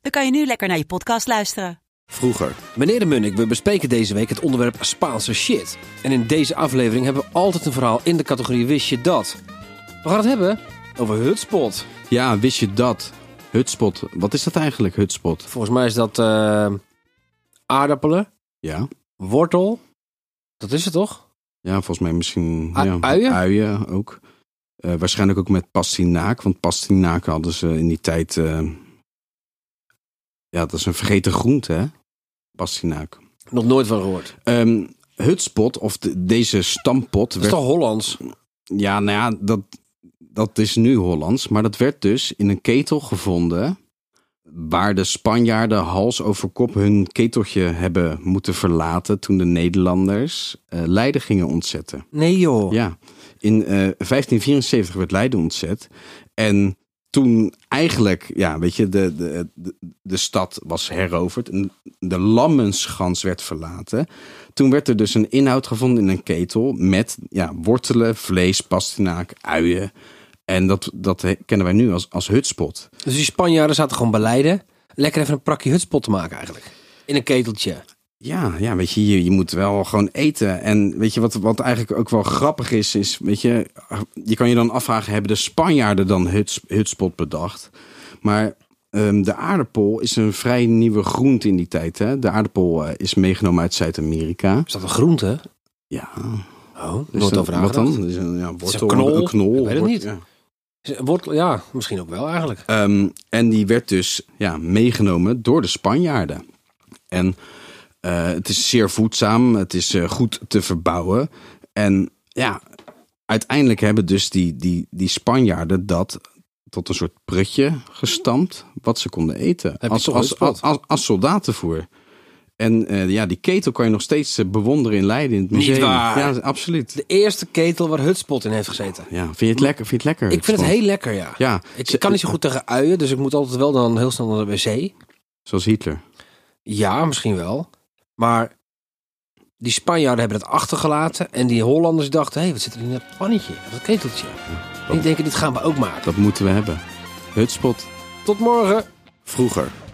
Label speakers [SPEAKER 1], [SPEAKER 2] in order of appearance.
[SPEAKER 1] dan kan je nu lekker naar je podcast luisteren.
[SPEAKER 2] Vroeger. Meneer de Munnik, we bespreken deze week het onderwerp Spaanse shit. En in deze aflevering hebben we altijd een verhaal in de categorie Wist je dat? We gaan het hebben over hutspot.
[SPEAKER 3] Ja, wist je dat? Hutspot. Wat is dat eigenlijk, hutspot?
[SPEAKER 2] Volgens mij is dat eh, aardappelen,
[SPEAKER 3] Ja.
[SPEAKER 2] wortel. Dat is het toch?
[SPEAKER 3] Ja, volgens mij misschien...
[SPEAKER 2] U-
[SPEAKER 3] ja,
[SPEAKER 2] uien?
[SPEAKER 3] Uien ook. Eh, waarschijnlijk ook met pastinaak. Want pastinaak hadden ze in die tijd... eh, Ja, dat is een vergeten groente, hè? Pastinaak.
[SPEAKER 2] Nog nooit van gehoord. Dat
[SPEAKER 3] Ehm hutspot, of de- deze stampot...
[SPEAKER 2] is
[SPEAKER 3] Werd...
[SPEAKER 2] toch Hollands?
[SPEAKER 3] Ja, nou ja, dat, dat is nu Hollands. Maar dat werd dus in een ketel gevonden. Waar de Spanjaarden hals over kop hun keteltje hebben moeten verlaten. toen de Nederlanders eh, Leiden gingen ontzetten.
[SPEAKER 2] Nee joh.
[SPEAKER 3] Ja, in eh, 1574 werd Leiden ontzet. En toen eigenlijk, ja, weet je, de, de, de, de stad was heroverd. En de Lammenschans werd verlaten. Toen werd er dus een inhoud gevonden in een ketel met ja, wortelen, vlees, pastinaak, uien. En dat, dat he- kennen wij nu als, als hutspot.
[SPEAKER 2] Dus die Spanjaarden zaten gewoon bij Leiden. Lekker even een prakje hutspot te maken eigenlijk. In een keteltje.
[SPEAKER 3] Ja, ja, weet je, je, je moet wel gewoon eten. En weet je, wat, wat eigenlijk ook wel grappig is, is, weet je, je kan je dan afvragen, hebben de Spanjaarden dan huts, hutspot bedacht? Maar ehm, de aardappel is een vrij nieuwe groente in die tijd. Hè? De aardappel eh, is meegenomen uit Zuid-Amerika.
[SPEAKER 2] Is dat een groente?
[SPEAKER 3] Ja,
[SPEAKER 2] Oh,
[SPEAKER 3] dus
[SPEAKER 2] nooit
[SPEAKER 3] dan-
[SPEAKER 2] over
[SPEAKER 3] Wat
[SPEAKER 2] nagedacht.
[SPEAKER 3] dan? Dus een, ja, wortel,
[SPEAKER 2] een knol? Ik weet het
[SPEAKER 3] wort-
[SPEAKER 2] niet.
[SPEAKER 3] ja.
[SPEAKER 2] Is- Wortel, ja, misschien ook wel eigenlijk.
[SPEAKER 3] Ehm, en die werd dus ja, meegenomen door de Spanjaarden. En eh, het is zeer voedzaam, het is eh, goed te verbouwen. En ja, uiteindelijk hebben dus die, die, die Spanjaarden dat tot een soort prutje gestampt, wat ze konden eten.
[SPEAKER 2] je
[SPEAKER 3] Als,
[SPEAKER 2] toch
[SPEAKER 3] als,
[SPEAKER 2] hotspot?
[SPEAKER 3] als, als, als soldatenvoer. En eh, ja, die ketel kan je nog steeds eh, bewonderen in Leiden in het
[SPEAKER 2] Niet
[SPEAKER 3] museum.
[SPEAKER 2] waar.
[SPEAKER 3] Ja, absoluut.
[SPEAKER 2] De eerste ketel waar hutspot in heeft gezeten.
[SPEAKER 3] Ja, vind je het lekker? Vind je het lekker
[SPEAKER 2] Ik vind het
[SPEAKER 3] Spans?
[SPEAKER 2] heel lekker, ja.
[SPEAKER 3] Ja,
[SPEAKER 2] Ik, ik kan niet zo goed tegen uien, dus ik moet altijd wel dan heel snel naar de wc.
[SPEAKER 3] zoals Hitler.
[SPEAKER 2] Ja, misschien wel. Maar die Spanjaarden hebben het achtergelaten. En die Hollanders dachten, hé, wat zit er in dat pannetje? Dat keteltje. En die denken, dit gaan we ook maken.
[SPEAKER 3] Dat moeten we hebben. Hutspot.
[SPEAKER 2] Tot morgen.
[SPEAKER 3] Vroeger.